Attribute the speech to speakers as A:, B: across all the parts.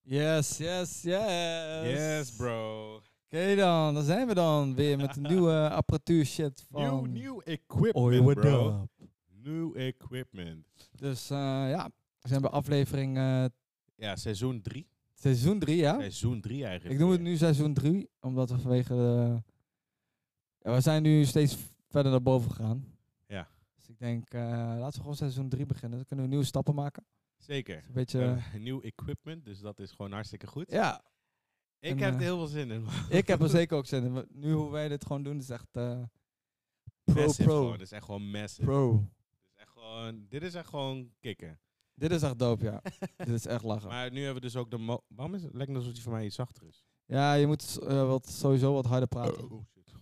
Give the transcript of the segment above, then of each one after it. A: Yes, yes, yes.
B: Yes, bro.
A: Oké dan, daar zijn we dan weer met een nieuwe apparatuur shit van...
B: New, new
A: Oi,
B: equipment,
A: what
B: bro.
A: up?
B: New equipment.
A: Dus eh, ja, we zijn bij aflevering eh,
B: Ja, seizoen 3.
A: seizoen 3, ja?
B: Seizoen 3 eigenlijk.
A: Oh. Ik noem het
B: weer.
A: nu seizoen 3, omdat we vanwege de... Ja, we zijn nu steeds verder naar boven gegaan.
B: Ja.
A: Dus ik denk, eh, laten we gewoon seizoen 3 beginnen. Dan kunnen we nieuwe stappen maken.
B: Zeker.
A: Dus een beetje...
B: Eh, nieuw equipment, dus dat is gewoon hartstikke goed.
A: ja,
B: Ik
A: en,
B: heb
A: eh,
B: er heel veel zin in. man.
A: ik heb er zeker ook zin in. We- Nu hoe wij dit gewoon doen, is echt... eh, pro,
B: Massive gewoon,
A: pro,
B: Dit is echt gewoon massive.
A: pro.
B: Dit is echt gewoon, dit is echt gewoon kicken.
A: Dit is echt dope, ja. Dit is echt lachen.
B: Maar nu hebben we dus ook de... mo- Waarom is het? Lijkt het alsof die van mij iets zachter is.
A: Ja, je moet s- eh, wat, sowieso wat harder praten.
B: shit.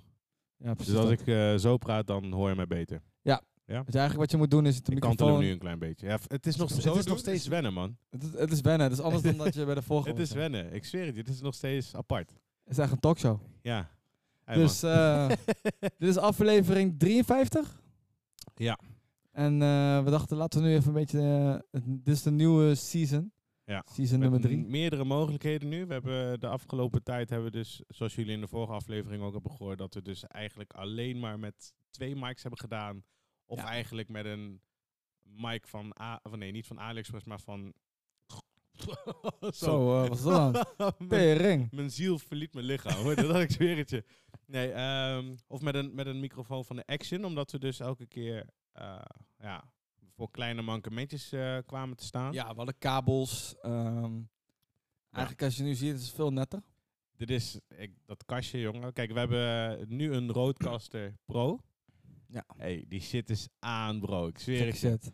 A: Ja, precies.
B: Oh. Dus als
A: dat.
B: ik eh, zo praat, dan hoor je mij beter.
A: Dus eigenlijk wat je moet doen is het
B: Ik kantel hem
A: microfoon...
B: nu een klein beetje. Ja, het is nog,
A: Zo
B: het is
A: doen
B: nog
A: is-
B: steeds wennen, man.
A: Het, is- het is wennen. Het is anders dan dat je bij de vorige
B: Het
A: was.
B: is wennen. Ik zweer het, dit is nog steeds apart.
A: Het is echt een talkshow.
B: Ja. Hey,
A: dus eh, dit is aflevering 53.
B: Ja.
A: En eh, we dachten, laten we nu even een beetje... eh, het- dit is de nieuwe season.
B: Ja.
A: Season
B: man.
A: nummer
B: Met
A: drie.
B: Meerdere mogelijkheden nu. We hebben eh, de afgelopen tijd hebben we dus, zoals jullie in de vorige aflevering ook hebben gehoord, dat we dus eigenlijk alleen maar met twee mics hebben gedaan. Of
A: Ja.
B: eigenlijk met een mic van, A, of nee, niet van AliExpress, maar van...
A: Zo, eh, wat is dat dan?
B: Mijn-
A: Tering.
B: Mijn ziel verliet mijn lichaam. hoor. Dat had ik zweer het je. Nee, ehm, of met een, met een microfoon van de Action. Omdat we dus elke keer eh, ja, voor kleine mankementjes eh, kwamen te staan.
A: Ja, we hadden kabels. ehm, Eigenlijk als je nu ziet, het is veel netter.
B: Dit is ik, dat kastje, jongen. Kijk, we hebben eh, nu een Roadcaster Pro.
A: Ja.
B: hey, die shit is aan, bro. Ik zweer
A: Gekke
B: het je.
A: shit.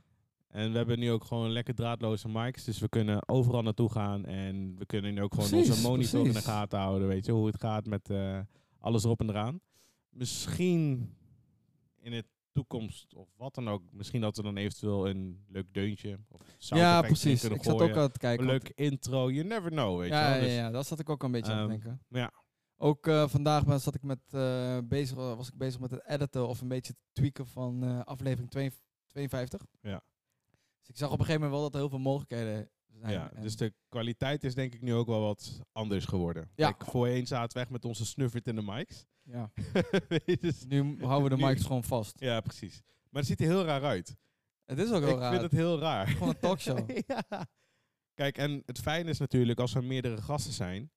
B: En we hebben nu ook gewoon lekker draadloze mics. Dus we kunnen overal naartoe gaan. En we kunnen nu ook gewoon
A: Precies,
B: onze monitor in
A: precies.
B: de gaten houden. Weet je, hoe het gaat met eh, alles erop en eraan. Misschien in de toekomst of wat dan ook. Misschien dat we dan eventueel een leuk deuntje of sound
A: Ja,
B: effect in
A: precies.
B: kunnen
A: Ik zat ook
B: gooien.
A: aan het kijken.
B: Een
A: want-
B: leuk intro. You never know, weet
A: ja,
B: je wel. Dus
A: ja, ja, daar zat ik ook een beetje aan te
B: ehm,
A: denken.
B: ja.
A: Ook eh, vandaag ben- zat ik met, eh, bezig, was ik bezig met het editen of een beetje het tweaken van eh, aflevering 52 52.
B: Ja.
A: Dus ik zag op een gegeven moment wel dat er heel veel mogelijkheden zijn.
B: Ja,
A: En
B: dus de kwaliteit is denk ik nu ook wel wat anders geworden.
A: Ja.
B: Kijk, voorheen zaten we echt met onze snuffert in de mics.
A: ja.
B: Weet je, dus-
A: Nu houden we de
B: Nu-
A: mics gewoon vast.
B: ja, precies. Maar het ziet er heel raar uit.
A: Het is ook heel
B: ik
A: raar.
B: vind het heel raar.
A: Gewoon een talkshow.
B: ja. Kijk, en het fijne is natuurlijk als er meerdere gasten zijn.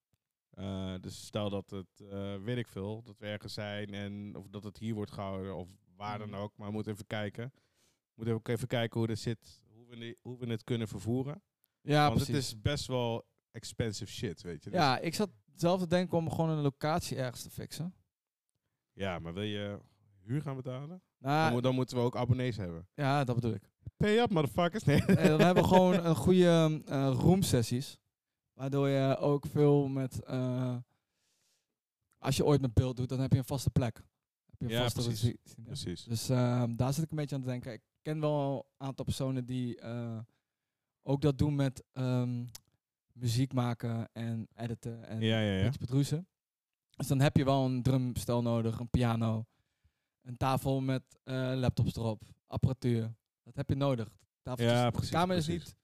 B: eh, dus stel dat het, eh, weet ik veel, dat we ergens zijn en of dat het hier wordt gehouden of waar dan
A: Mhm.
B: ook. Maar we moeten even kijken. We moeten ook even kijken hoe dit zit, hoe we, ni- hoe we het kunnen vervoeren.
A: ja,
B: Want
A: precies.
B: het is best wel expensive shit, weet je. Dus
A: ja, ik zat zelf te denken om gewoon een locatie ergens te fixen.
B: Ja, maar wil je huur gaan betalen? dan,
A: Nou,
B: moet- dan moeten we ook abonnees hebben.
A: ja, dat bedoel ik.
B: Pay up, motherfuckers. Nee.
A: Nee, dan hebben Eh, we gewoon een goede eh room sessies. Waardoor je ook veel met. eh, als je ooit met beeld doet, dan heb je een vaste plek. Heb je een
B: Ja,
A: vaste
B: precies.
A: resi- ja.
B: Precies.
A: Dus eh, daar zit ik een beetje aan te denken. Ik ken wel een aantal personen die eh, ook dat doen met ehm, muziek maken en editen en
B: Ja, ja,
A: een
B: ja.
A: beetje bedroezen. Dus dan heb je wel een drumstel nodig, een piano, een tafel met eh, laptops erop, apparatuur. Dat heb je nodig. Tafeltjes-
B: Ja,
A: de
B: precies,
A: kamer is
B: precies.
A: niet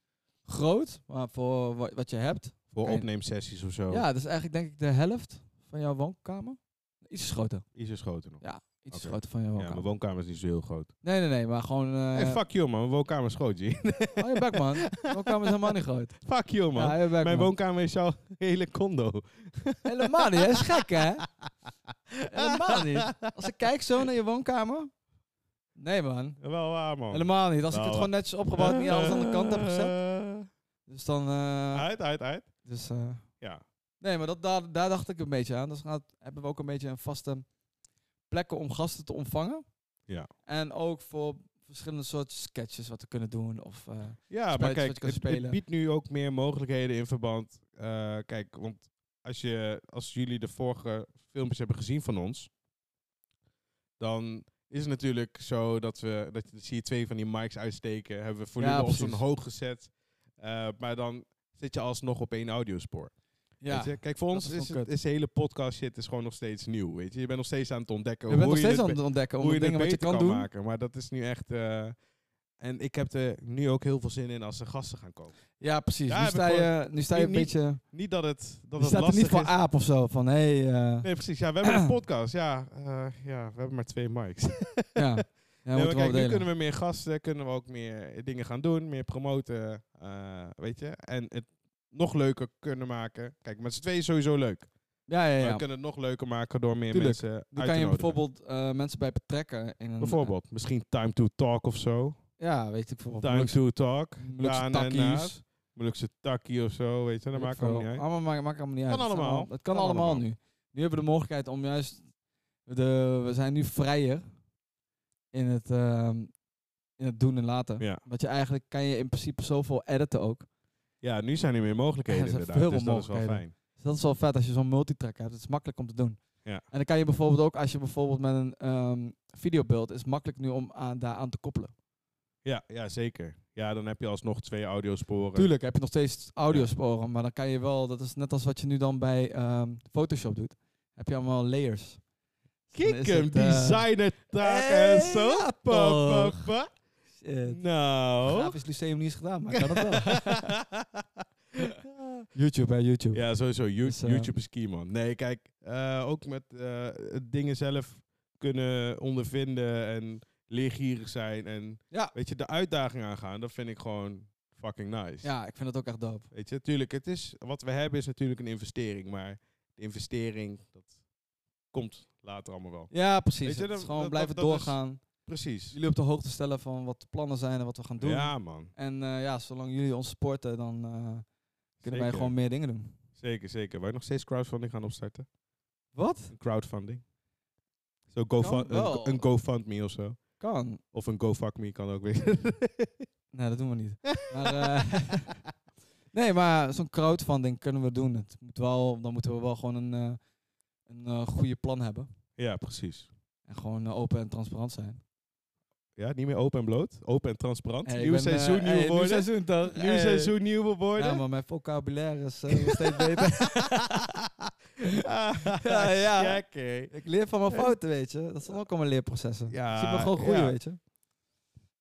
A: groot, maar voor wa- wat je hebt.
B: Voor
A: Oké.
B: opneemsessies of zo.
A: Ja, dat is eigenlijk denk ik de helft van jouw woonkamer. Iets groter.
B: Iets is groter nog.
A: Ja, Iets
B: Oké.
A: groter van jouw
B: Ja, mijn
A: woonkamer.
B: woonkamer is niet zo heel groot.
A: nee, nee, nee, maar gewoon... eh
B: hey, fuck you, man. Mijn woonkamer is groot, G.
A: hou je bek, man. Woonkamer is helemaal niet groot.
B: fuck you, man.
A: Ja, hou je bek,
B: mijn
A: man.
B: woonkamer is jouw hele condo.
A: Helemaal niet, hè? is gek, hè? Helemaal niet. Als ik kijk zo naar je woonkamer... Nee, man.
B: Wel waar, man.
A: Helemaal niet. Als ik het
B: Nou,
A: gewoon netjes opgebouwd en niet alles aan de kant heb gezet. Dus dan... eh,
B: Uit, uit, uit.
A: dus, eh,
B: Ja.
A: nee, maar dat, daar, daar dacht ik een beetje aan. Dus gaat, hebben we ook een beetje een vaste plekken om gasten te ontvangen.
B: Ja.
A: En ook voor verschillende soorten sketches wat we kunnen doen. Of, eh,
B: Ja, maar
A: Spelletjes wat
B: kijk,
A: je kan
B: het, het
A: spelen.
B: biedt nu ook meer mogelijkheden in verband. eh, kijk, want als, je, als jullie de vorige filmpjes hebben gezien van ons, dan is het natuurlijk zo dat we, dat je, zie je twee van die mics uitsteken, hebben we volume op zo'n
A: precies.
B: hoog gezet, eh, maar dan zit je alsnog op één audiospoor.
A: ja.
B: Weet je? Kijk, voor
A: dat
B: ons
A: is
B: is,
A: gewoon
B: het,
A: kut.
B: is de hele podcast shit is gewoon nog steeds nieuw, weet je. Je bent nog steeds aan het ontdekken
A: Je bent
B: hoe
A: nog
B: je
A: steeds
B: het
A: aan
B: be-
A: het ontdekken
B: hoe
A: om
B: je
A: de
B: dingen
A: dingen wat je kan
B: beter kan,
A: doen.
B: maken. Maar dat is nu echt. eh, En ik heb er nu ook heel veel zin in als er gasten gaan komen.
A: Ja, precies.
B: Ja,
A: nu,
B: heb ik
A: sta je, nu sta je
B: niet-
A: een
B: niet-
A: beetje...
B: Niet dat het,
A: je
B: dat het
A: staat er niet
B: lastig
A: voor
B: is.
A: aap of zo. Van, hé... Hey, eh,
B: Nee, precies. Ja, we hebben een podcast. Ja, eh, ja, we hebben maar twee mics.
A: ja. Ja,
B: Nee,
A: moeten
B: maar
A: we
B: kijk,
A: wel
B: nu
A: delen.
B: kunnen we meer gasten, kunnen we ook meer dingen gaan doen, meer promoten, eh, weet je. En het nog leuker kunnen maken. Kijk, met z'n tweeën is sowieso leuk.
A: Ja, ja,
B: Maar
A: ja.
B: we kunnen het nog leuker maken door meer
A: Tuurlijk.
B: mensen
A: Dan
B: uit
A: kan
B: te
A: je
B: nodigen.
A: bijvoorbeeld eh, mensen bij betrekken. In een, eh,
B: Bijvoorbeeld, misschien Time to Talk of zo.
A: ja, weet ik veel.
B: Time to Talk.
A: Molukse
B: Daan en Naad.
A: takkies.
B: Molukse Takkie of zo, weet je. Dat
A: Weet
B: maakt
A: ik veel.
B: allemaal niet uit.
A: Allemaal, maakt, maakt allemaal niet uit.
B: Kan
A: Het is
B: allemaal.
A: Het kan,
B: Kan
A: allemaal,
B: allemaal.
A: nu. Nu hebben we de mogelijkheid om juist... De, we zijn nu vrijer in het, ehm, in het doen en laten.
B: Ja.
A: Want je eigenlijk kan je in principe zoveel editen ook.
B: ja, nu zijn er meer mogelijkheden
A: Er zijn
B: inderdaad.
A: veel
B: dus dat is wel
A: mogelijkheden.
B: fijn.
A: Dus dat is wel vet als je zo'n multitrack hebt. Het is makkelijk om te doen.
B: Ja.
A: En dan kan je bijvoorbeeld ook, als je bijvoorbeeld met een ehm, videobeeld, is het makkelijk nu om aan, daar aan te koppelen.
B: Ja, ja, zeker. Ja, dan heb je alsnog twee audiosporen.
A: Tuurlijk heb je nog steeds audiosporen, maar dan kan je wel, dat is net als wat je nu dan bij ehm, Photoshop doet, heb je allemaal layers. Dus dan
B: Kijk
A: is
B: hem,
A: het, eh,
B: designer taak en
A: hey,
B: zo.
A: ja,
B: Pa, pa,
A: toch.
B: pa.
A: shit.
B: Nou.
A: Grafisch Lyceum niet eens gedaan, maar ik kan het wel. YouTube, hè, YouTube.
B: ja, sowieso. You-
A: Dus, eh,
B: YouTube is key, man. Nee, kijk, eh, ook met eh, het dingen zelf kunnen ondervinden en leergierig zijn en
A: Ja.
B: weet je, de uitdaging aangaan, dat vind ik gewoon fucking nice.
A: Ja, ik vind dat ook echt dope.
B: Weet je, tuurlijk, het is, wat we hebben is natuurlijk een investering, maar de investering, dat komt later allemaal wel.
A: Ja, precies.
B: Weet je,
A: het
B: dat-
A: is gewoon
B: dat-
A: blijven
B: dat- dat is-
A: doorgaan.
B: Precies.
A: Jullie op de hoogte stellen van wat de plannen zijn en wat we gaan doen.
B: Ja, man.
A: En eh, ja, zolang jullie ons supporten, dan eh, kunnen wij
B: Zeker.
A: gewoon meer dingen doen.
B: Zeker, zeker. Wij nog steeds crowdfunding gaan opstarten.
A: Wat?
B: Een crowdfunding. Zo GoFund, een,
A: wel.
B: een GoFundMe of zo.
A: Kan.
B: Of een GoFuckMe kan ook weer.
A: Nee, dat doen we niet. Maar, eh, nee, maar zo'n crowdfunding kunnen we doen. Het moet wel, dan moeten we wel gewoon een, eh een eh, goede plan hebben.
B: ja, precies.
A: En gewoon eh, open en transparant zijn.
B: Ja, niet meer open en bloot. Open en transparant.
A: Hey, ik
B: nieuw
A: ben, eh,
B: seizoen,
A: hey,
B: nieuwe woorden.
A: Nieuw seizoen, toch?
B: Nieuw
A: Hey. Nou,
B: seizoen, nieuwe woorden.
A: Ja, maar mijn vocabulaire is eh, nog steeds beter. Ja, ja.
B: Check, hé.
A: Ik leer van mijn fouten, weet je. Dat zijn ook allemaal leerprocessen.
B: Ja,
A: ik zie me gewoon groeien,
B: ja.
A: weet je.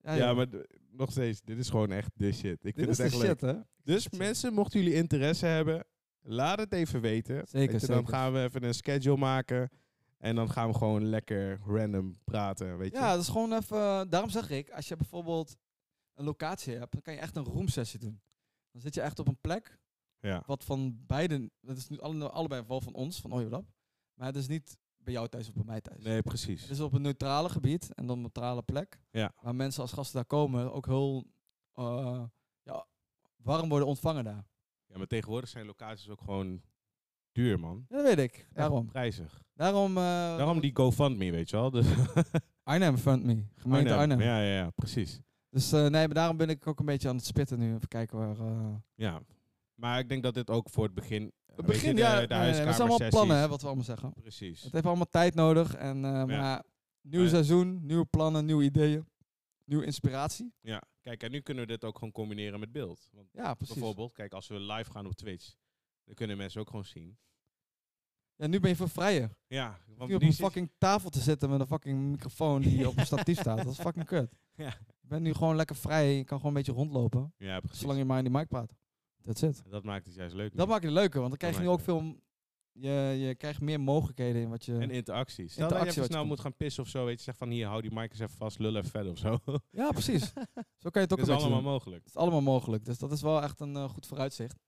A: Ah,
B: Ja, maar d- nog steeds. Dit is gewoon echt de shit. Ik
A: dit
B: vind
A: is
B: het
A: de
B: echt leuk.
A: shit, hè?
B: Dus mensen, mochten jullie interesse hebben, laat het even weten.
A: Zeker,
B: Weet je, Dan
A: zeker.
B: gaan we even een schedule maken. En dan gaan we gewoon lekker random praten, weet je.
A: Ja, dat is gewoon even. eh, Daarom zeg ik, als je bijvoorbeeld een locatie hebt, dan kan je echt een roomsessie doen. Dan zit je echt op een plek
B: Ja.
A: wat van beiden. Dat is nu alle, allebei wel van ons, van Ojo Lab. Maar het is niet bij jou thuis of bij mij thuis.
B: Nee, precies.
A: Het is op een neutrale gebied en dan een neutrale plek.
B: Ja.
A: Waar mensen als gasten daar komen ook heel eh, ja, warm worden ontvangen daar.
B: Ja, maar tegenwoordig zijn locaties ook gewoon duur, man.
A: Ja, dat weet ik.
B: Echt
A: Daarom.
B: Prijzig.
A: Daarom. eh,
B: Daarom die GoFundMe, weet je wel. Dus
A: Arnhem Fund Me. Gemeente Arnhem.
B: Ja, ja, ja, precies.
A: Dus eh, nee, maar daarom ben ik ook een beetje aan het spitten nu. Even kijken waar. eh,
B: Ja. Maar ik denk dat dit ook voor het begin... weet je,
A: Het begin, ja.
B: de, de
A: nee, nee, nee, dat zijn allemaal
B: huiskamersessies.
A: plannen, hè, wat we allemaal zeggen.
B: Precies.
A: Het heeft allemaal tijd nodig. En, eh, Maar nieuw
B: Maar-
A: seizoen, nieuwe plannen, nieuwe ideeën, nieuwe inspiratie.
B: Ja. Kijk, en nu kunnen we dit ook gewoon combineren met beeld. Want
A: Ja, precies.
B: bijvoorbeeld, kijk, als we live gaan op Twitch, dan kunnen mensen ook gewoon zien.
A: Ja, nu ben je veel vrijer.
B: Ja,
A: Nu
B: want
A: op
B: nu
A: een
B: zit-
A: fucking tafel te zitten met een fucking microfoon die op een statief staat. Dat is fucking kut.
B: Ja.
A: Je bent nu gewoon lekker vrij. Je kan gewoon een beetje rondlopen.
B: Ja, precies.
A: Zolang je maar in die mic praat. That's it.
B: Dat maakt het juist leuk.
A: Dat maakt het leuker, want dan krijg je nu ook
B: maakt het
A: veel... Je, je krijgt meer mogelijkheden in wat je...
B: En interactie. Stel dat
A: Interactie
B: je even
A: wat je
B: snel
A: kan-
B: moet gaan pissen of zo, weet je, zeg van hier, hou die mic eens even vast, lul even verder of zo.
A: Ja, precies. Zo kan je het ook
B: Dat is
A: een beetje
B: allemaal
A: doen.
B: mogelijk.
A: Het is allemaal mogelijk. Dus dat is wel echt een eh, goed vooruitzicht.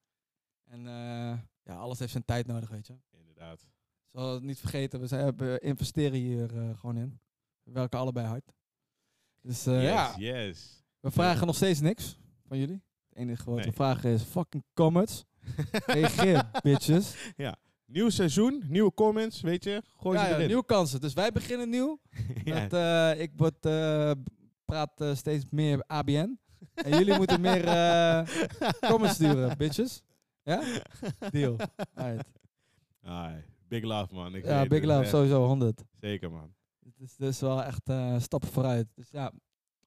A: En eh, ja, alles heeft zijn tijd nodig, weet je.
B: Inderdaad.
A: Zal het niet vergeten, we, zijn, we investeren hier eh, gewoon in. We werken allebei hard. Dus eh, ja,
B: yes, yes.
A: we vragen nog steeds niks van jullie. Het enige wat
B: Nee.
A: we vragen is fucking comments. Reageer, bitches.
B: Nieuw seizoen, nieuwe comments, weet je, gooi
A: Ja,
B: ze
A: ja,
B: erin.
A: nieuwe kansen. Dus wij beginnen nieuw.
B: Ja.
A: Met, eh, ik word, eh, praat eh, steeds meer ABN. En jullie moeten meer eh, comments sturen, bitches. Ja? Deal. Alright.
B: Ai, big love, man. Ik weet
A: Ja,
B: het,
A: Big Love,
B: echt.
A: sowieso 100.
B: Zeker, man.
A: Het is dus wel echt eh, stappen vooruit. Dus ja,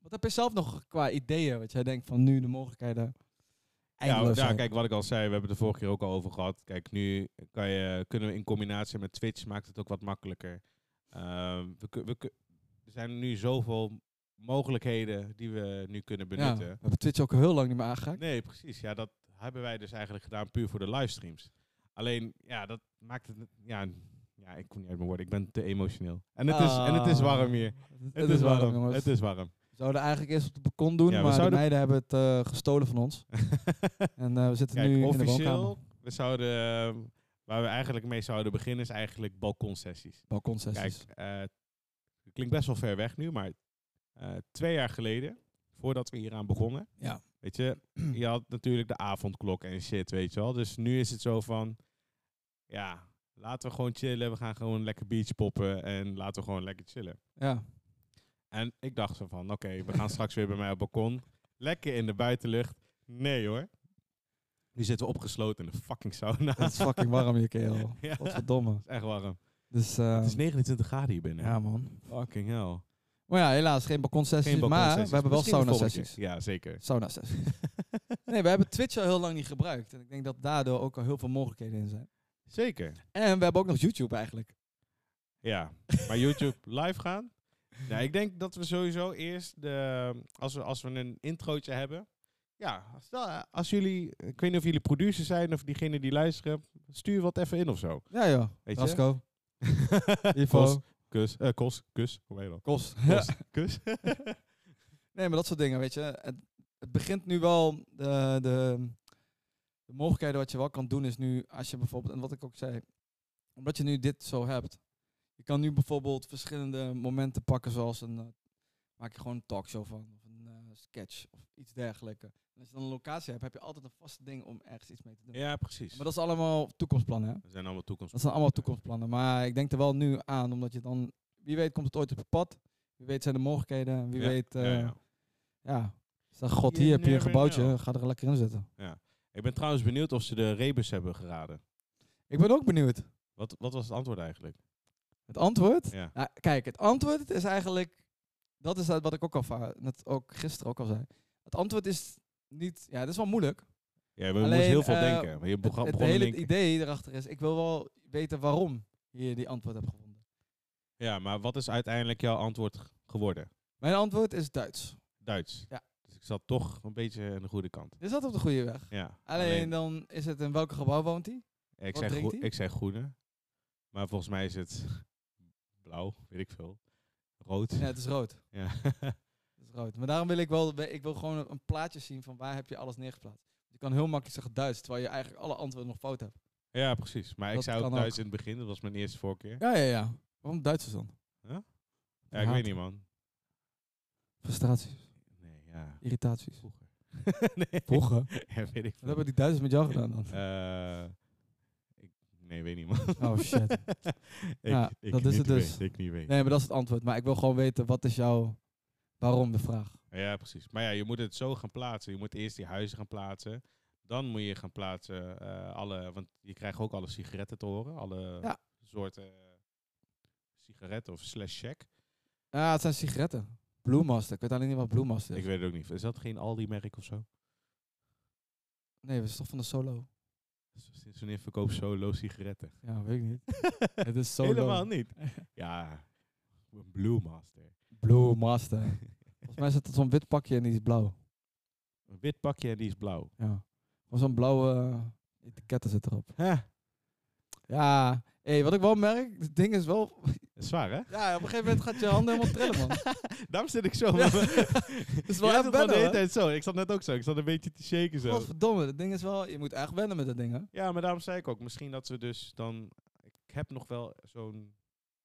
A: wat heb je zelf nog qua ideeën? Wat jij denkt van nu de mogelijkheden
B: Ja,
A: eindeloos
B: ja,
A: zijn.
B: kijk, wat ik al zei, we hebben het de vorige keer ook al over gehad. Kijk, nu kan je, kunnen we in combinatie met Twitch, maakt het ook wat makkelijker. Ehm, we, kun- we, kun- er zijn nu zoveel mogelijkheden die we nu kunnen
A: Ja,
B: benutten.
A: we hebben Twitch ook heel lang niet meer aangeraakt.
B: Nee, precies. Ja, dat hebben wij dus eigenlijk gedaan puur voor de livestreams. Alleen, ja, dat maakt het... Ja, ja ik kom niet uit mijn woorden. Ik ben te emotioneel. En het, is, en het is warm hier.
A: Ah,
B: Het, is, warm,
A: jongens.
B: Het is warm.
A: We zouden eigenlijk eerst op het balkon doen,
B: Ja, we
A: maar
B: zouden-
A: de meiden hebben het eh, gestolen van ons. En eh, we zitten
B: Kijk,
A: nu in de woonkamer.
B: officieel, we zouden... eh, Waar we eigenlijk mee zouden beginnen is eigenlijk balkonsessies. Kijk,
A: Balkonsessies.
B: eh, het klinkt best wel ver weg nu, maar eh, twee jaar geleden, voordat we hieraan begonnen,
A: Ja.
B: weet je, je had natuurlijk de avondklok en shit, weet je wel. Dus nu is het zo van, ja, laten we gewoon chillen. We gaan gewoon lekker beach poppen en laten we gewoon lekker chillen.
A: Ja.
B: En ik dacht zo van, oké, we gaan straks weer bij mij op het balkon. Lekker in de buitenlucht. Nee hoor. Nu zitten we opgesloten in de fucking sauna.
A: Het is fucking warm hier, kerel.
B: Ja.
A: Godverdomme.
B: Het is echt warm.
A: Dus, eh,
B: het is 29 graden hier binnen.
A: ja man.
B: Fucking hell.
A: Maar ja, helaas geen balkonsessies,
B: Geen
A: maar
B: balkonsessies.
A: we hebben wel
B: Misschien de volgende
A: sauna-sessies.
B: keer. Ja, zeker.
A: Sauna-sessies. nou, nee, we hebben Twitch al heel lang niet gebruikt. En ik denk dat daardoor ook al heel veel mogelijkheden in zijn.
B: Zeker.
A: En we hebben ook nog YouTube eigenlijk.
B: Ja, maar YouTube live gaan? Ja, ik denk dat we sowieso eerst, de, als, we, als we een introotje hebben. Ja, stel, eh, als jullie, ik weet niet of jullie producers zijn of diegene die luisteren, stuur wat even in of zo.
A: Ja joh.
B: Weet je?
A: Rasco,
B: Kos,
A: Ivo,
B: kus, eh, kos, kus, hoe heet dat?
A: Kos.
B: Kos, kus.
A: Nee, maar dat soort dingen, weet je. Het, het begint nu wel de, de, de mogelijkheden wat je wel kan doen is nu als je bijvoorbeeld en wat ik ook zei, omdat je nu dit zo hebt, je kan nu bijvoorbeeld verschillende momenten pakken zoals een eh, maak je gewoon een talkshow van of een eh, sketch of iets dergelijks. En als je dan een locatie hebt, heb je altijd een vast ding om ergens iets mee te doen.
B: ja, precies.
A: Maar dat is allemaal toekomstplannen. Hè?
B: We zijn allemaal toekomst.
A: Dat zijn allemaal toekomstplannen. Maar ik denk er wel nu aan, omdat je dan, wie weet komt het ooit op je pad. Wie weet zijn de mogelijkheden. Wie
B: Ja,
A: weet,
B: ja,
A: eh,
B: ja.
A: ja. Zeg, god,
B: You
A: hier heb je een
B: never
A: gebouwtje.
B: know.
A: Ga er lekker in zitten.
B: Ik ben trouwens benieuwd of ze de rebus hebben geraden.
A: Ik ben ook benieuwd.
B: Wat, wat was het antwoord eigenlijk?
A: Het antwoord?
B: Ja.
A: Nou, kijk, het antwoord is eigenlijk... Dat is wat ik ook al va- net ook gisteren ook al zei. Het antwoord is niet... Ja, dat is wel moeilijk.
B: Ja, we moesten
A: Alleen,
B: heel veel
A: eh,
B: denken. Maar je
A: Het,
B: begon,
A: het
B: begon te
A: hele
B: denken.
A: idee erachter is... Ik wil wel weten waarom je die antwoord hebt gevonden.
B: Ja, maar wat is uiteindelijk jouw antwoord g- geworden?
A: Mijn antwoord is Duits.
B: Duits.
A: Ja.
B: Dus ik zat toch een beetje aan de goede kant.
A: Is dat op de goede weg?
B: Ja.
A: Alleen dan is het in welk gebouw woont hij?
B: ik,
A: wat
B: zei
A: drinkt
B: groe-
A: hij?
B: ik zei groene. Maar volgens mij is het blauw, weet ik veel. Rood.
A: Nee,
B: Ja.
A: het is rood. Het is rood. Maar daarom wil ik wel, we- ik wil gewoon een- een plaatje zien van waar heb je alles neergeplaatst. Je kan heel makkelijk zeggen Duits, terwijl je eigenlijk alle antwoorden nog fout hebt.
B: ja, precies. Maar
A: Dat
B: ik zei ook
A: kan
B: Duits
A: ook.
B: in het begin. Dat was mijn eerste voorkeer. Ja,
A: Ja, ja, ja. Waarom Duitsers dan?
B: ik
A: haat.
B: weet niet, man.
A: Frustraties,
B: Nee, ja.
A: irritaties.
B: Vroeger. nee.
A: Pochen?
B: Ja, weet ik
A: Wat
B: veel.
A: hebben die Duitsers met jou gedaan dan?
B: Eh, ik, nee, weet niet, man.
A: Oh shit.
B: ik,
A: Ja,
B: ik
A: dat is
B: niet
A: het dus.
B: weet, ik niet weet.
A: Nee, maar dat is het antwoord. Maar ik wil gewoon weten, wat is jouw waarom de vraag?
B: Ja, precies. Maar ja, je moet het zo gaan plaatsen. Je moet eerst die huizen gaan plaatsen. Dan moet je gaan plaatsen eh, alle... Want je krijgt ook alle sigaretten te horen. Alle
A: Ja.
B: soorten eh, sigaretten of slash check.
A: Ja, het zijn sigaretten. Blue Master. Ik weet alleen niet wat Blue Master
B: Ik
A: is.
B: weet het ook niet. Is dat geen Aldi-merk of zo?
A: Nee, dat is toch van de Solo?
B: Sinds wanneer verkoop solo sigaretten?
A: Ja, weet ik niet. Het is Solo.
B: Helemaal niet. Ja, een Blue Master.
A: Blue Master. Volgens mij zit er zo'n wit pakje en die is blauw.
B: Een wit pakje en die is blauw.
A: Ja. Gewoon zo'n blauwe eh, etiketten zit erop.
B: Huh,
A: Ja, hey, wat ik wel merk, het ding is wel...
B: dat is zwaar, hè?
A: Ja, op een gegeven moment gaat je handen helemaal trillen, man.
B: Daarom zit ik zo.
A: Ja.
B: met mijn-
A: Het is
B: Je
A: wel echt
B: hebt het wel de
A: wennen,
B: hele
A: hoor.
B: tijd zo. Ik zat net ook zo. Ik zat een beetje te shaken zo.
A: Godverdomme, het ding is wel... Je moet echt wennen met dat ding, hè?
B: Ja, maar daarom zei ik ook, misschien dat ze dus dan... Ik heb nog wel zo'n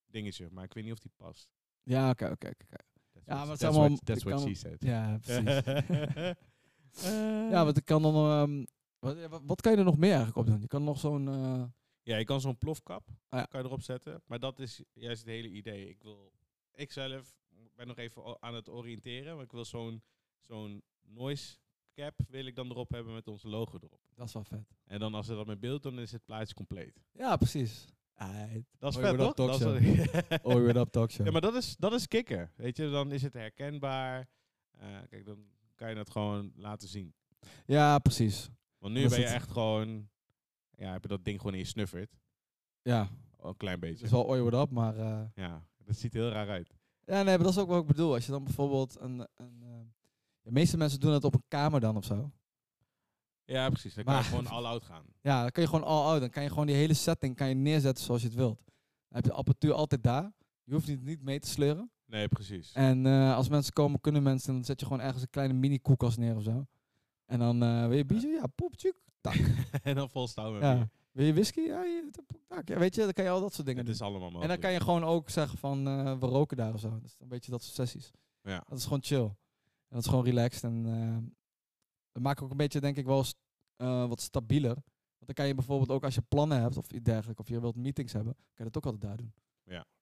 B: dingetje, maar ik weet niet of die past.
A: Ja, oké, oké, oké. oké.
B: That's
A: Ja,
B: what-
A: maar het
B: that's
A: zijn
B: what,
A: allemaal-
B: that's
A: ik
B: what
A: kan-
B: she said.
A: Ja, precies.
B: Eh,
A: ja, want ik kan dan... ehm, wat, ja, wat- wat kan je er nog meer eigenlijk op doen? Je kan nog zo'n... eh,
B: ja, je kan zo'n plofkap
A: Ah, ja.
B: kan je erop zetten. Maar dat is juist het hele idee. Ik wil... Ik zelf ben nog even o- aan het oriënteren, maar ik wil zo'n zo'n noise cap wil ik dan erop hebben met ons logo erop.
A: dat is wel vet.
B: En dan als ze dat met beeld doen, dan is het plaatje compleet.
A: Ja, precies. Aight.
B: Dat is
A: Oi,
B: vet,
A: what up,
B: toch? Dat is wel-
A: Oh, weer up talkshow.
B: Ja, maar dat is, dat is kicken. Weet je, dan is het herkenbaar. Eh, kijk, dan kan je dat gewoon laten zien.
A: Ja, precies.
B: Want nu
A: Dat
B: ben je
A: is het.
B: echt gewoon... Ja, heb je dat ding gewoon in je snuffert.
A: Ja,
B: Een klein
A: het
B: beetje.
A: is wel ooi, what up, maar... eh,
B: Ja, dat ziet er heel raar uit.
A: Ja, nee, maar dat is ook wat ik bedoel. Als je dan bijvoorbeeld een... een eh, de meeste mensen doen dat op een kamer dan of zo.
B: Ja, precies. Dan kan
A: Maar-
B: je gewoon all-out gaan.
A: Ja, dan kun je gewoon all out. Dan kan je gewoon die hele setting kan je neerzetten zoals je het wilt. Dan heb je de apparatuur altijd daar. Je hoeft niet, niet mee te sleuren.
B: Nee, precies.
A: En eh, als mensen komen, kunnen mensen. Dan zet je gewoon ergens een kleine mini koelkast neer of zo. En dan eh wil je biertje? Ja, poep, tjuk.
B: en dan vol staan we
A: Ja. Wil je whisky? Ja, je- poep, tak. ja, weet je, dan kan je al dat soort dingen
B: Het
A: doen.
B: is allemaal
A: En
B: mogelijk.
A: dan kan je gewoon ook zeggen van, eh, we roken daar of zo. Dus een beetje dat soort sessies.
B: Ja.
A: Dat is gewoon chill. En dat is gewoon relaxed. En eh dat maakt ook een beetje, denk ik, wel st- eh, wat stabieler. Want dan kan je bijvoorbeeld ook als je plannen hebt of iets dergelijks, of je wilt meetings hebben, kan je dat ook altijd daar doen.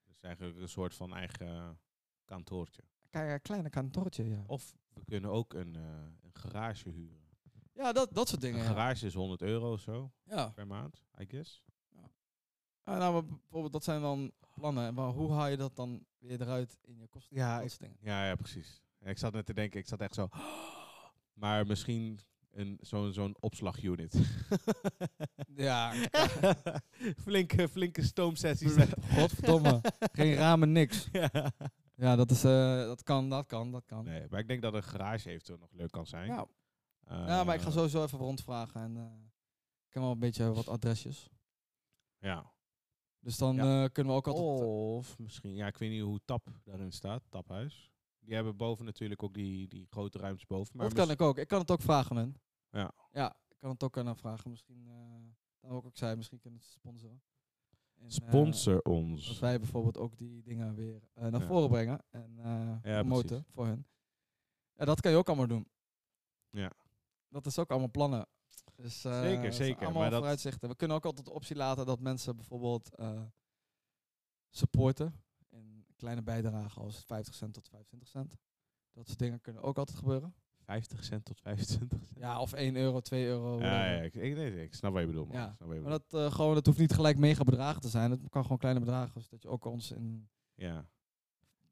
B: Dus eigenlijk een soort van eigen eh, kantoortje.
A: Dan kan je een kleine kantoortje, ja.
B: Of we kunnen ook een, eh, een garage huren.
A: Ja, dat, dat soort
B: Een
A: dingen. ja.
B: garage is 100 euro of zo
A: Ja.
B: per maand, I guess.
A: Ah, nou, maar bijvoorbeeld, dat zijn dan plannen. Maar hoe haal je dat dan weer eruit in je kosten?
B: Ja,
A: dat soort dingen.
B: Ja, ja, precies. Ja, ik zat net te denken, ik zat echt zo... Maar misschien een- zo'n zo'n opslagunit.
A: Ja,
B: flinke, flinke stoomsessies.
A: godverdomme. Geen ramen, niks.
B: Ja.
A: Ja, dat, is, eh, dat kan, dat kan, dat kan.
B: Nee, maar ik denk dat een garage eventueel nog leuk kan zijn.
A: Ja,
B: Eh,
A: ja, Nou, maar ik ga sowieso even rondvragen. En eh, ik heb wel een beetje wat adresjes.
B: Ja.
A: Dus dan
B: Ja. Oh,
A: eh, kunnen we ook altijd...
B: Of misschien, ja, ik weet niet hoe TAP daarin staat, TAPhuis. Die hebben boven natuurlijk ook die, die grote ruimtes boven. Maar
A: dat kan
B: mis-
A: ik ook. Ik kan het ook vragen, hun.
B: Ja.
A: Ja, ik kan het ook aan haar vragen. Misschien, eh dan ook ik zei, misschien kunnen ze sponsoren. En, eh,
B: Sponsor
A: dat
B: ons.
A: wij bijvoorbeeld ook die dingen weer eh, naar
B: Ja.
A: voren brengen. En eh
B: Ja,
A: promoten
B: precies.
A: voor hun. Ja, dat kan je ook allemaal doen.
B: Ja.
A: Dat is ook allemaal plannen. Dus, eh,
B: Zeker,
A: dat zijn
B: zeker,
A: Allemaal
B: maar dat-
A: vooruitzichten. We kunnen ook altijd de optie laten dat mensen bijvoorbeeld eh, supporten. In kleine bijdragen als 50 cent tot 25 cent. Dat soort dingen kunnen ook altijd gebeuren.
B: 50 cent tot 25 cent.
A: Ja, of 1 euro, 2 euro.
B: Ja,
A: whatever.
B: ja, ik, ik, nee, ik snap wat je bedoelt. Man.
A: Ja,
B: Ik snap wat je
A: Maar
B: bedoelt.
A: dat, eh, gewoon, dat hoeft niet gelijk mega bedragen te zijn. Het kan gewoon kleine bedragen. Zodat je ook ons in...
B: ja,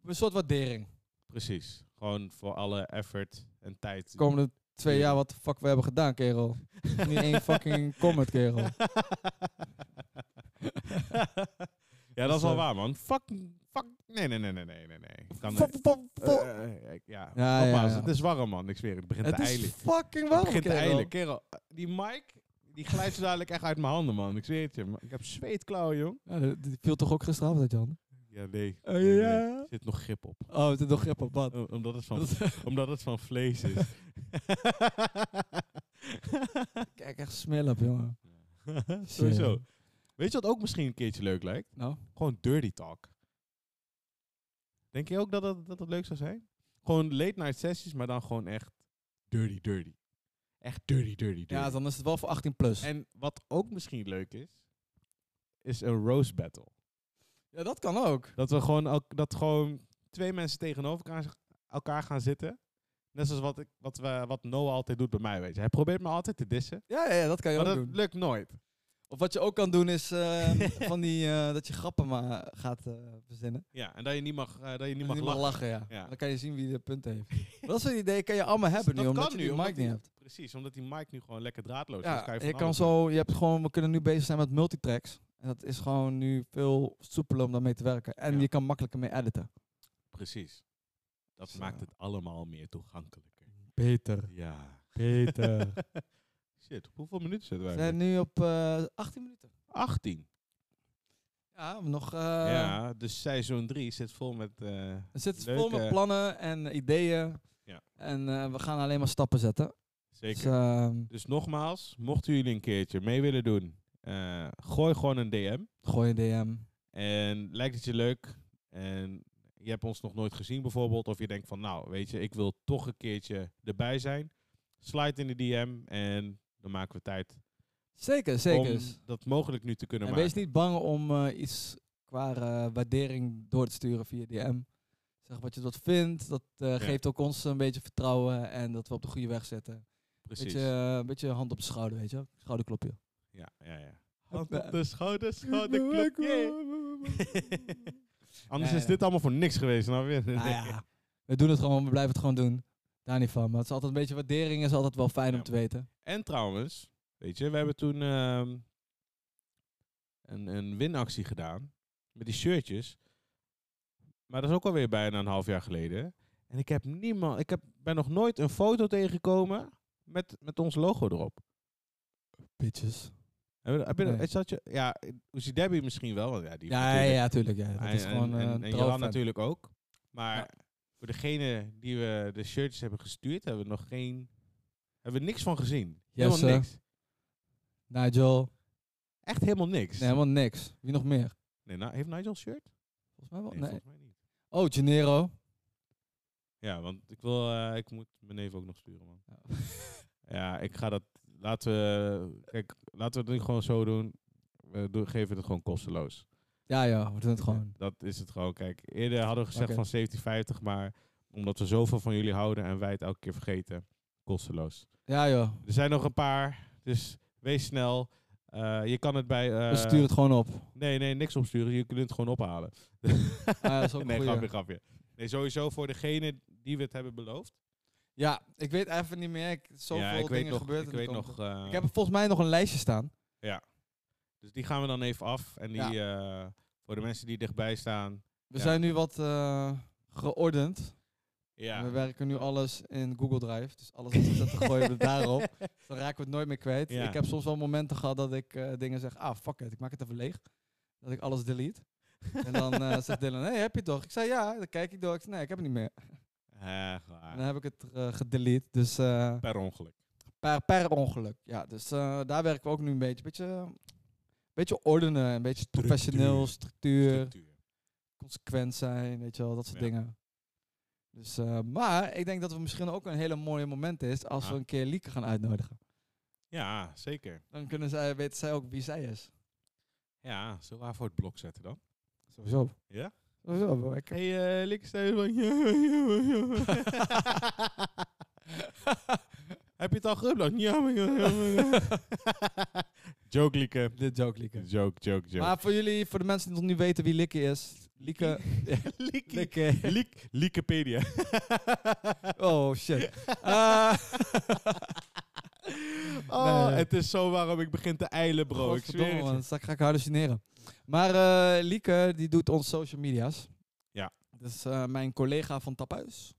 A: Een soort waardering.
B: precies. Gewoon voor alle effort en tijd.
A: de komende twee jaar wat de fuck we hebben gedaan, kerel. niet één fucking comment, kerel.
B: ja, dat is wel
A: eh,
B: waar, man. Fuck, fuck. Nee, nee, nee, nee, nee, nee. nee. Kan,
A: Fok, fok, fok.
B: Eh, eh, eh, ja,
A: Ja,
B: nogmaals,
A: ja, ja.
B: het is warm, man. Ik zweer, het begint
A: Het
B: te
A: is
B: eilen.
A: fucking
B: Het
A: warm,
B: begint te
A: kerel.
B: eilen. Kerel, eh, die mic, die glijdt zo dadelijk echt uit mijn handen, man. Ik zweer het je. man. Ik heb zweetklauwen, jong. Eh,
A: Ja, die- die viel toch ook gisteravond uit, Jan?
B: Ja, nee.
A: Oh,
B: Nee,
A: ja.
B: nee. Er zit nog grip op.
A: Oh, het is nog grip op wat.
B: O- Omdat het van,
A: Dat is-
B: omdat het van vlees is.
A: Kijk, echt smel op, jongen.
B: Sowieso. Weet je wat ook misschien een keertje leuk lijkt?
A: Nou,
B: Gewoon dirty talk. Denk je ook dat dat, dat, dat leuk zou zijn? Gewoon late night sessies, maar dan gewoon echt dirty, dirty. Echt dirty, dirty, dirty.
A: ja, dan is het wel voor 18 plus.
B: En wat ook misschien leuk is, is een roast battle.
A: Ja, dat kan ook.
B: Dat we gewoon, elk- dat gewoon twee mensen tegenover elkaar, elkaar gaan zitten. Net zoals wat, ik, wat, we, wat Noah altijd doet bij mij, weet je. Hij probeert me altijd te dissen,
A: Ja, ja, ja, dat kan je
B: maar
A: ook
B: dat
A: doen.
B: lukt nooit.
A: Of wat je ook kan doen is eh, van die, eh, dat je grappen maar gaat eh, verzinnen.
B: Ja, en dat je niet mag, eh, dat je niet
A: Die
B: mag lachen.
A: ja.
B: Ja.
A: Dan kan je zien wie de punten heeft. Maar dat soort ideeën kan je allemaal hebben nu,
B: dat
A: omdat
B: kan
A: je
B: nu,
A: die mic
B: omdat
A: niet
B: die-
A: hebt.
B: Precies, omdat die mic nu gewoon lekker draadloos is.
A: Ja,
B: kan je
A: je,
B: van
A: kan
B: alles
A: zo, je hebt gewoon, we kunnen nu bezig zijn met multitracks. En dat is gewoon nu veel soepeler om daarmee te werken. En
B: Ja.
A: je kan makkelijker mee editen.
B: Precies. Dat
A: Zo.
B: maakt het allemaal meer toegankelijker.
A: Beter,
B: Ja.
A: beter.
B: Shit, op hoeveel minuten zitten
A: We
B: wij?
A: zijn nu op eh 18 minuten.
B: 18.
A: Ja, we nog. eh
B: ja, dus seizoen 3 zit vol met... eh,
A: We zitten vol met
B: Leuke-
A: plannen en ideeën.
B: Ja.
A: En eh, we gaan alleen maar stappen zetten.
B: zeker.
A: Dus, ehm,
B: Dus nogmaals, mochten jullie een keertje mee willen doen, eh, gooi gewoon een DM.
A: gooi een DM.
B: En lijkt het je leuk en je hebt ons nog nooit gezien bijvoorbeeld, of je denkt van nou, weet je, ik wil toch een keertje erbij zijn, slide in de DM en dan maken we tijd
A: Zeker, zeker.
B: om dat mogelijk nu te kunnen
A: En
B: maken.
A: wees niet bang om eh, iets qua eh, waardering door te sturen via DM. Zeg wat je dat vindt. Dat eh, geeft ook ons een beetje vertrouwen en dat we op de goede weg zitten.
B: Precies.
A: Beetje, eh, een beetje hand op de schouder, weet je. Schouderklopje. eh.
B: Ja, ja, ja.
A: Hand op
B: de schouder, Anders
A: Nee,
B: is dit
A: nee.
B: allemaal voor niks geweest. Nou, weer.
A: Nou ja, we doen het gewoon, we blijven het gewoon doen. Daar niet van. Maar het is altijd een beetje waardering, is altijd wel fijn
B: Ja.
A: om te weten.
B: En trouwens, weet je, we hebben toen ehm, een, een winactie gedaan met die shirtjes. Maar dat is ook alweer bijna een half jaar geleden. En ik heb niemand, ik heb, ben nog nooit een foto tegengekomen met, met ons logo erop.
A: Bitches.
B: Heb je, heb je,
A: Nee.
B: zat je, ja, Uzi Debbie misschien wel. Want ja, die
A: Ja,
B: natuurlijk-
A: ja, tuurlijk. Ja. Dat
B: en,
A: is
B: en-
A: gewoon
B: en,
A: eh,
B: en
A: een
B: Joran
A: trouwfan.
B: natuurlijk ook. Maar
A: Ja.
B: voor degene die we de shirtjes hebben gestuurd, hebben we nog geen, hebben we niks van gezien.
A: Jesse.
B: Helemaal niks.
A: Nigel.
B: Echt helemaal niks.
A: Nee, Nou, helemaal niks. Wie nog meer?
B: Nee, nou, heeft Nigel een shirt?
A: Volgens mij wel.
B: Nee,
A: Nee.
B: volgens mij niet.
A: Oh, Gennaro.
B: Ja, want ik wil, eh, ik moet mijn neef ook nog sturen, man.
A: Ja.
B: Ja, ik ga dat. Laten we, kijk, laten we het nu gewoon zo doen. We doen- geven het gewoon kosteloos.
A: Ja, ja, we doen het gewoon.
B: Dat is het gewoon. Kijk, eerder hadden we gezegd
A: Oké.
B: van 70-50, maar omdat we zoveel van jullie houden en wij het elke keer vergeten, kosteloos.
A: Ja, joh.
B: Er zijn nog een paar, dus wees snel. Eh, je kan het bij. eh,
A: We sturen het gewoon op.
B: Nee, nee, niks opsturen. Je kunt het gewoon ophalen.
A: ja, Ah, dat is ook een
B: nee,
A: goeie.
B: grapje, grapje. Nee, sowieso voor degene die we het hebben beloofd.
A: Ja, ik weet even niet meer. Ik, zoveel
B: ja, ik
A: dingen
B: weet nog.
A: gebeurd.
B: Ik
A: in de
B: weet
A: kant.
B: nog. eh,
A: ik heb er volgens mij nog een lijstje staan.
B: Dus die gaan we dan even af. En die, eh, voor de mensen die dichtbij staan.
A: We
B: Ja.
A: zijn nu wat eh, geordend.
B: Ja.
A: We werken nu alles in Google Drive. Dus alles wat we zetten gooien we daarop. Dus dan raken we het nooit meer kwijt.
B: Ja.
A: Ik heb soms wel momenten gehad dat ik eh, dingen zeg... Ah, fuck it, ik maak het even leeg. Dat ik alles delete. En dan eh, zegt Dylan, hey, heb je het toch? Ik zei ja, dan kijk ik door. Ik zei, nee, ik heb het niet meer.
B: Echt
A: En
B: waar.
A: dan heb ik het eh, gedelete. Dus eh,
B: Per ongeluk.
A: per, per ongeluk. Ja, dus eh, daar werken we ook nu een beetje. Beetje, beetje ordenen, een beetje professioneel, structuur.
B: Structuur.
A: consequent zijn, weet je wel, dat soort
B: Ja.
A: dingen. Dus, eh, maar ik denk dat het misschien ook een hele mooie moment is als
B: Ja.
A: we een keer Lieke gaan uitnodigen.
B: Ja, zeker.
A: Dan kunnen zij, weten zij ook wie zij is.
B: Ja, zullen we haar voor het blok zetten dan?
A: Sowieso.
B: Ja?
A: Sowieso. bro. Ik-
B: hey, uh, van... Heb je het al geüpload? Ja, maar- ja, ja, maar- ja. Joke, Lieke.
A: Dit joke, Lieke.
B: Joke, joke, joke.
A: Maar voor jullie, voor de mensen die nog niet weten wie Lieke is. Lieke.
B: eh, Lieke.
A: Lieke.
B: Liek- Liekepedia.
A: Oh shit. Eh,
B: Oh,
A: Nee.
B: het is zo waarom ik begin te eilen, bro. Ik
A: godverdomme,
B: zweer het je.
A: man, straks ga ik hallucineren. Maar eh, Lieke, die doet onze social media's.
B: Ja.
A: Dus eh, mijn collega van Tapuis.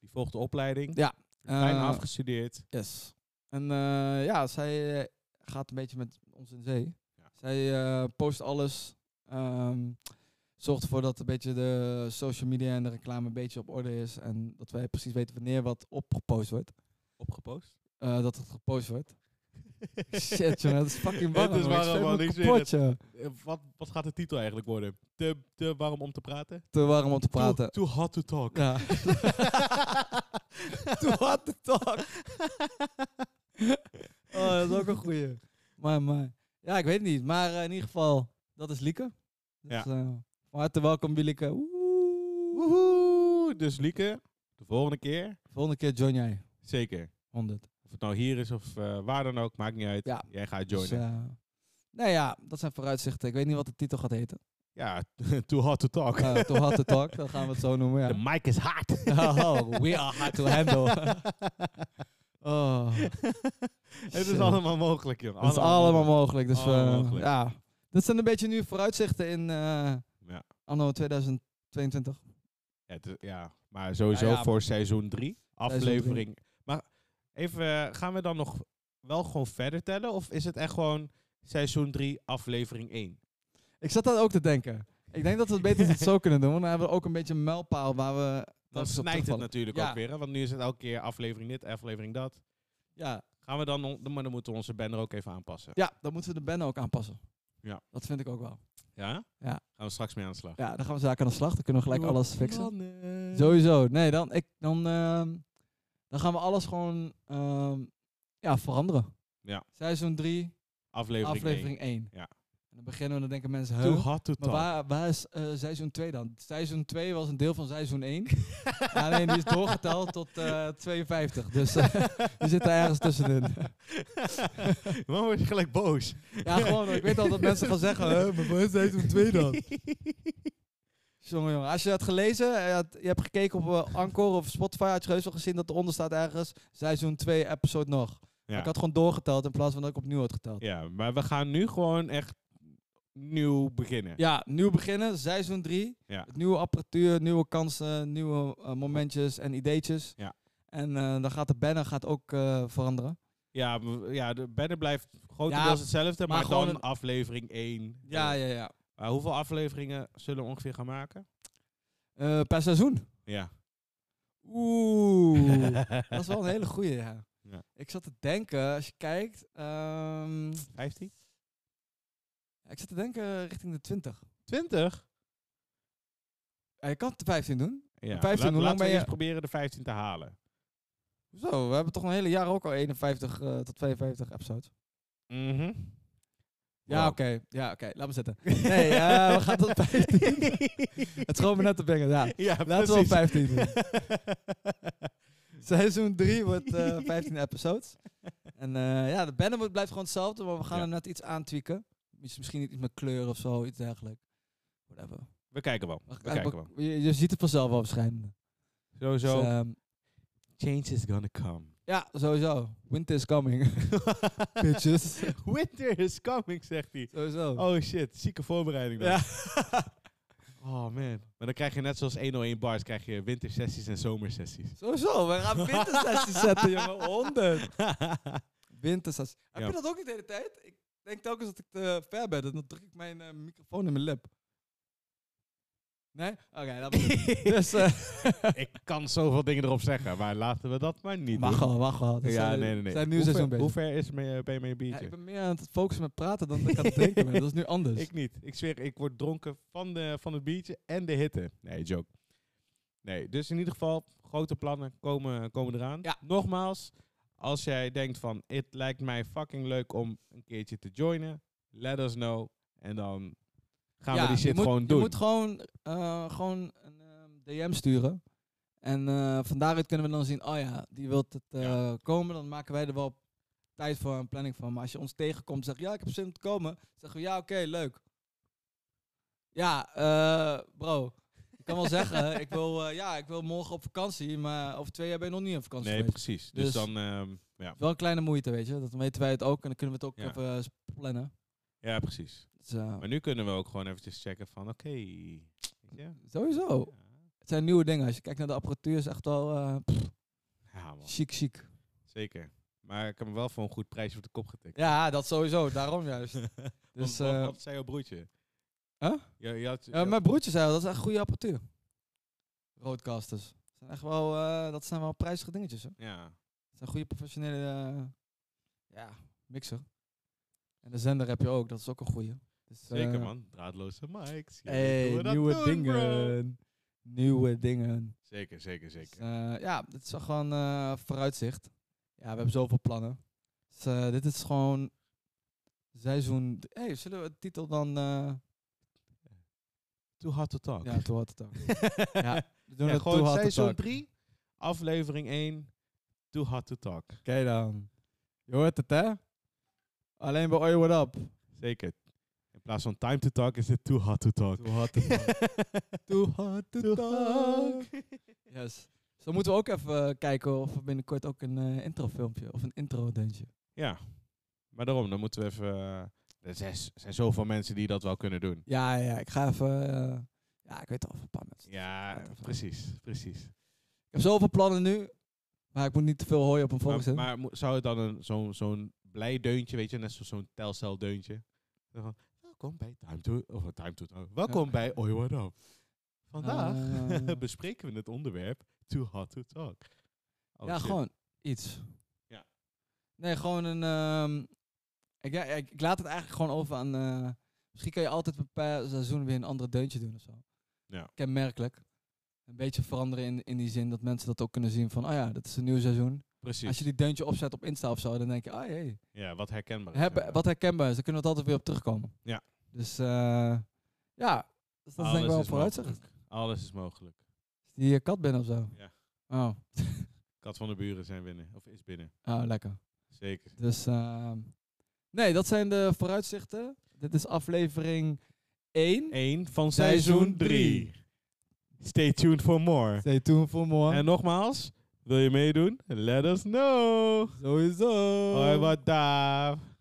B: Die volgt de opleiding.
A: Ja.
B: Bijna
A: Eh,
B: afgestudeerd.
A: Yes. En eh, ja, zij eh, gaat een beetje met ons in zee.
B: Ja.
A: Zij eh, post alles. ehm, zorgt ervoor dat een beetje de social media en de reclame een beetje op orde is. En dat wij precies weten wanneer wat opgepost wordt.
B: Opgepost.
A: Eh, dat het gepost wordt. Shit, jongen, dat is fucking warm.
B: Het is
A: hoor. Ik
B: warm,
A: zweet me
B: man, ik zweer
A: kapot,
B: het.
A: joh.
B: Eh, Wat, wat gaat de titel eigenlijk worden? Te, te warm om te praten?
A: Te warm om te praten.
B: Too, too hot to talk.
A: Ja. Too hot to talk. Oh, dat is ook een goeie. Maar, maar. Ja, ik weet het niet. Maar eh, in ieder geval, dat is Lieke. Dus,
B: Ja.
A: eh, van harte welkom bij Lieke. Woehoe.
B: Woehoe. Dus Lieke, de volgende keer.
A: Volgende keer join jij.
B: Zeker.
A: 100.
B: Of het nou hier is of eh, waar dan ook, maakt niet uit.
A: Ja.
B: Jij gaat
A: Dus,
B: joinen.
A: eh, nou ja, dat zijn vooruitzichten. Ik weet niet wat de titel gaat heten.
B: ja, too hot to talk.
A: Eh to hot to talk, dan gaan we het zo noemen.
B: De
A: Ja.
B: mic is hard.
A: Oh, we are hard to handle. Oh,
B: het is
A: shit.
B: allemaal mogelijk, joh.
A: Dat is allemaal mogelijk. Dus
B: Allemaal
A: eh,
B: mogelijk.
A: ja, dat zijn een beetje nu vooruitzichten in eh,
B: Ja.
A: anno 2022.
B: Ja, het is- ja, maar sowieso
A: Ja, ja.
B: voor seizoen 3,
A: Seizoen
B: aflevering. Maar even, eh, gaan we dan nog wel gewoon verder tellen? Of is het echt gewoon seizoen 3, aflevering 1?
A: Ik zat dat ook te denken. Ik denk dat we het beter dat we het zo kunnen doen, want dan hebben we ook een beetje een mijlpaal waar we...
B: Dan
A: dat is op
B: snijdt het
A: terugvallen.
B: natuurlijk
A: Ja.
B: ook weer, hè, want nu is het elke keer aflevering dit, aflevering dat.
A: Ja,
B: Gaan we dan, on- maar dan moeten we onze banner ook even aanpassen.
A: ja, dan moeten we de banner ook aanpassen.
B: Ja.
A: Dat vind ik ook wel.
B: Ja?
A: Ja.
B: Gaan we straks mee aan de slag.
A: Ja, dan gaan we zaken aan de slag. Dan kunnen we gelijk
B: Jongen,
A: alles fixen.
B: mannen.
A: Sowieso. Nee, dan, ik, dan, ehm, dan gaan we alles gewoon ehm, ja, veranderen.
B: Ja.
A: Seizoen 3,
B: Aflevering,
A: aflevering 1.
B: Ja.
A: En dan beginnen we, dan denken mensen...
B: 1.
A: huh?
B: Too hot to
A: Maar
B: talk.
A: waar, waar is eh, seizoen 2 dan? Seizoen 2 was een deel van seizoen 1. Alleen die is doorgeteld tot eh, 52. Dus eh, die zit daar ergens tussenin.
B: Waarom word je gelijk boos?
A: ja, gewoon. Ik weet al dat mensen gaan zeggen... hè, maar waar is seizoen 2 dan? Jongen, jongen. Als je dat gelezen, eh, had- je hebt gekeken op eh, Anchor of Spotify, had je heus wel gezien dat eronder staat ergens seizoen 2, episode nog.
B: Ja.
A: Ik had gewoon doorgeteld in plaats van dat ik opnieuw had geteld.
B: Ja, maar we gaan nu gewoon echt nieuw beginnen.
A: Ja, nieuw beginnen, seizoen 3.
B: Ja.
A: Het Nieuwe apparatuur, nieuwe kansen, nieuwe eh, momentjes en ideetjes.
B: Ja.
A: En eh, dan gaat de banner gaat ook eh, veranderen.
B: Ja, m- ja de banner blijft grotendeels
A: Ja,
B: hetzelfde, maar,
A: maar gewoon
B: dan
A: een-
B: aflevering 1.
A: Ja, ja, ja.
B: hoeveel afleveringen zullen we ongeveer gaan maken?
A: Eh, per seizoen.
B: Ja.
A: Oeh, dat is wel een hele goeie, ja.
B: Ja.
A: Ik zat te denken, als je kijkt, ehm,
B: 15?
A: ik zat te denken richting de 20.
B: 20?
A: Ja, je kan het de 15 doen.
B: Ja.
A: 15,
B: Laat-
A: hoe lang
B: laten we
A: ben je-
B: eerst proberen de 15 te halen.
A: Zo, we hebben toch een hele jaar ook al 51 eh, tot 52 episodes.
B: Mhm.
A: Ja,
B: Wow.
A: oké. Ja, oké. Laat me zitten. Nee, eh, we gaan tot 15. Het schoot me net te brengen, ja.
B: Ja,
A: Laten we op
B: precies.
A: 15 doen. Seizoen 3 wordt eh 15 episodes. En eh, ja, de banner wordt- blijft gewoon hetzelfde, maar we gaan
B: Ja.
A: hem net iets aantwieken. Iets- Misschien iets met kleur of zo, iets dergelijks. Whatever.
B: we kijken wel. We
A: We-
B: kijken
A: we-
B: wel.
A: je, je ziet het vanzelf wel verschijnen. Dus,
B: Sowieso.
A: ehm,
B: Change is gonna come.
A: ja, sowieso. Winter is coming. Bitches.
B: Winter is coming, zegt hij.
A: sowieso.
B: Oh shit, zieke voorbereiding dan.
A: ja.
B: Oh man. Maar dan krijg je net zoals 101 bars, krijg je wintersessies en zomersessies.
A: sowieso, we gaan wintersessie zetten, jongen. 100. Wintersessie. Heb
B: Ja.
A: je dat ook niet de hele tijd? Ik denk telkens dat ik te ver ben, dan druk ik mijn eh, microfoon in mijn lip. Nee? Oké, dat bedoel ik. Dus, eh,
B: ik kan zoveel dingen erop zeggen, maar laten we dat maar niet
A: Wacht
B: doen.
A: al, wacht al.
B: Ja, nee, nee,
A: We
B: nee.
A: zijn nu
B: Hoe
A: een seizoen
B: ver-
A: bezig.
B: Hoe ver is me, eh, ben je met je
A: Ja,
B: biertje?
A: ik ben meer aan het focussen met praten dan dat ik aan het drinken ben. Dat is nu anders.
B: Ik niet. Ik zweer, ik word dronken van, de, van het biertje en de hitte. Nee, joke. Nee, dus in ieder geval, grote plannen komen, komen eraan.
A: Ja.
B: Nogmaals, als jij denkt van, het lijkt mij fucking leuk om een keertje te joinen, let us know. En dan gaan
A: Ja,
B: we die
A: je
B: shit
A: moet-
B: gewoon doen.
A: Je moet gewoon, eh, gewoon een ehm, DM sturen. En eh, van daaruit kunnen we dan zien, oh ja, die wilt het eh,
B: Ja.
A: komen. Dan maken wij er wel tijd voor en planning van. Maar als je ons tegenkomt en zegt, ja, ik heb zin om te komen. Zeggen we, ja, oké, leuk. Ja, eh, bro. Ik kan wel zeggen, ik wil, eh, ja, ik wil morgen op vakantie. Maar over twee jaar ben je nog niet op vakantie
B: nee,
A: geweest.
B: precies. Dus,
A: Dus-
B: dan, ehm, ja.
A: Wel een kleine moeite, weet je. Dat weten wij het ook. En dan kunnen we het ook
B: Ja.
A: even eh, plannen.
B: ja, precies.
A: Dus, eh,
B: Maar nu kunnen we ook gewoon eventjes checken van, oké. weet je?
A: sowieso. Het zijn nieuwe dingen. Als je kijkt naar de apparatuur, is echt wel eh, pff,
B: Ja, man.
A: chic, chic.
B: Zeker. Maar ik heb hem wel voor een goed prijsje op de kop getikt.
A: Ja, dat sowieso. Daarom juist.
B: Dus,
A: Dus, eh,
B: wat zei jouw broertje?
A: Huh?
B: Ja, je had,
A: ja, mijn broertje zei al, dat is echt goede apparatuur. Roadcasters. Dat zijn echt wel, eh, dat zijn wel prijzige dingetjes. Hè?
B: ja.
A: Dat zijn goede professionele eh, ja, mixer. En de zender heb je ook. Dat is ook een goede. Dus,
B: Zeker
A: eh,
B: man, draadloze mics. Ja,
A: Hey,
B: hoe we dat
A: nieuwe
B: doen,
A: dingen.
B: bro.
A: Nieuwe dingen.
B: Zeker, zeker, zeker.
A: Dus, eh, ja, dit is wel gewoon eh, vooruitzicht. Ja, we hebben zoveel plannen. Dus, eh, dit is gewoon seizoen... d- Hey, zullen we de titel dan... eh
B: Too hard to talk.
A: ja, Too Hard To Talk. Ja, We doen
B: Ja,
A: het Too
B: gewoon
A: Hard To
B: seizoen
A: Talk.
B: 3, aflevering 1, Too hard to talk.
A: Oké dan. Je hoort het, hè? Alleen bij Oi What Up.
B: Zeker. In plaats van time to talk is het too hard to talk.
A: Too Hard To Talk. Too Hard To
B: Too
A: Talk. Yes. Dus dan moeten we ook even eh, kijken of we binnenkort ook een eh, introfilmpje of een intro-deuntje.
B: Ja, maar daarom, dan moeten we even... eh, er zijn, zijn zoveel mensen die dat wel kunnen doen.
A: Ja, ja, ik ga even... eh, ja, ik weet al van een paar mensen.
B: Ja,
A: Laten we-
B: precies, precies.
A: Ik heb zoveel plannen nu, maar ik moet niet te veel hooi op een volg
B: Maar,
A: zetten.
B: maar mo- zou het dan een- zo'n zo'n blij deuntje, weet je, net zoals zo'n telcel deuntje? Dan van, welkom bij Time to, of eh, time to Talk. Welkom bij Oi What Up. Vandaag
A: Ah.
B: bespreken we het onderwerp Too Hot to Talk. Oh,
A: ja,
B: shit.
A: gewoon iets.
B: Ja.
A: Nee, gewoon een... ehm, ik, ja, ik, ik laat het eigenlijk gewoon over aan... eh, misschien kan je altijd per seizoen weer een ander deuntje doen of zo.
B: Ja.
A: Kenmerkelijk. Een beetje veranderen in, in die zin dat mensen dat ook kunnen zien van... Oh ja, dat is een nieuw seizoen.
B: Precies.
A: Als je die deuntje opzet op Insta of zo, dan denk je... Oh jee,
B: ja, wat herkenbaar. is,
A: heb,
B: inderdaad.
A: wat herkenbaar is. Dan kunnen we het altijd weer op terugkomen.
B: Ja.
A: Dus eh, ja, dus dat is denk ik wel
B: Alles
A: een
B: is
A: vooruitzicht.
B: Alles is mogelijk.
A: Is die je kat binnen of zo?
B: Ja.
A: Oh,
B: Kat van de buren zijn binnen, of is binnen.
A: oh lekker.
B: Zeker.
A: Dus ehm, nee, dat zijn de vooruitzichten. Dit is aflevering 1.
B: 1 van
A: Seizoen
B: seizoen
A: drie.
B: 3. Stay tuned for more.
A: Stay tuned voor morgen.
B: En nogmaals, wil je meedoen? Let us know.
A: Sowieso.
B: Hoi, wat daar.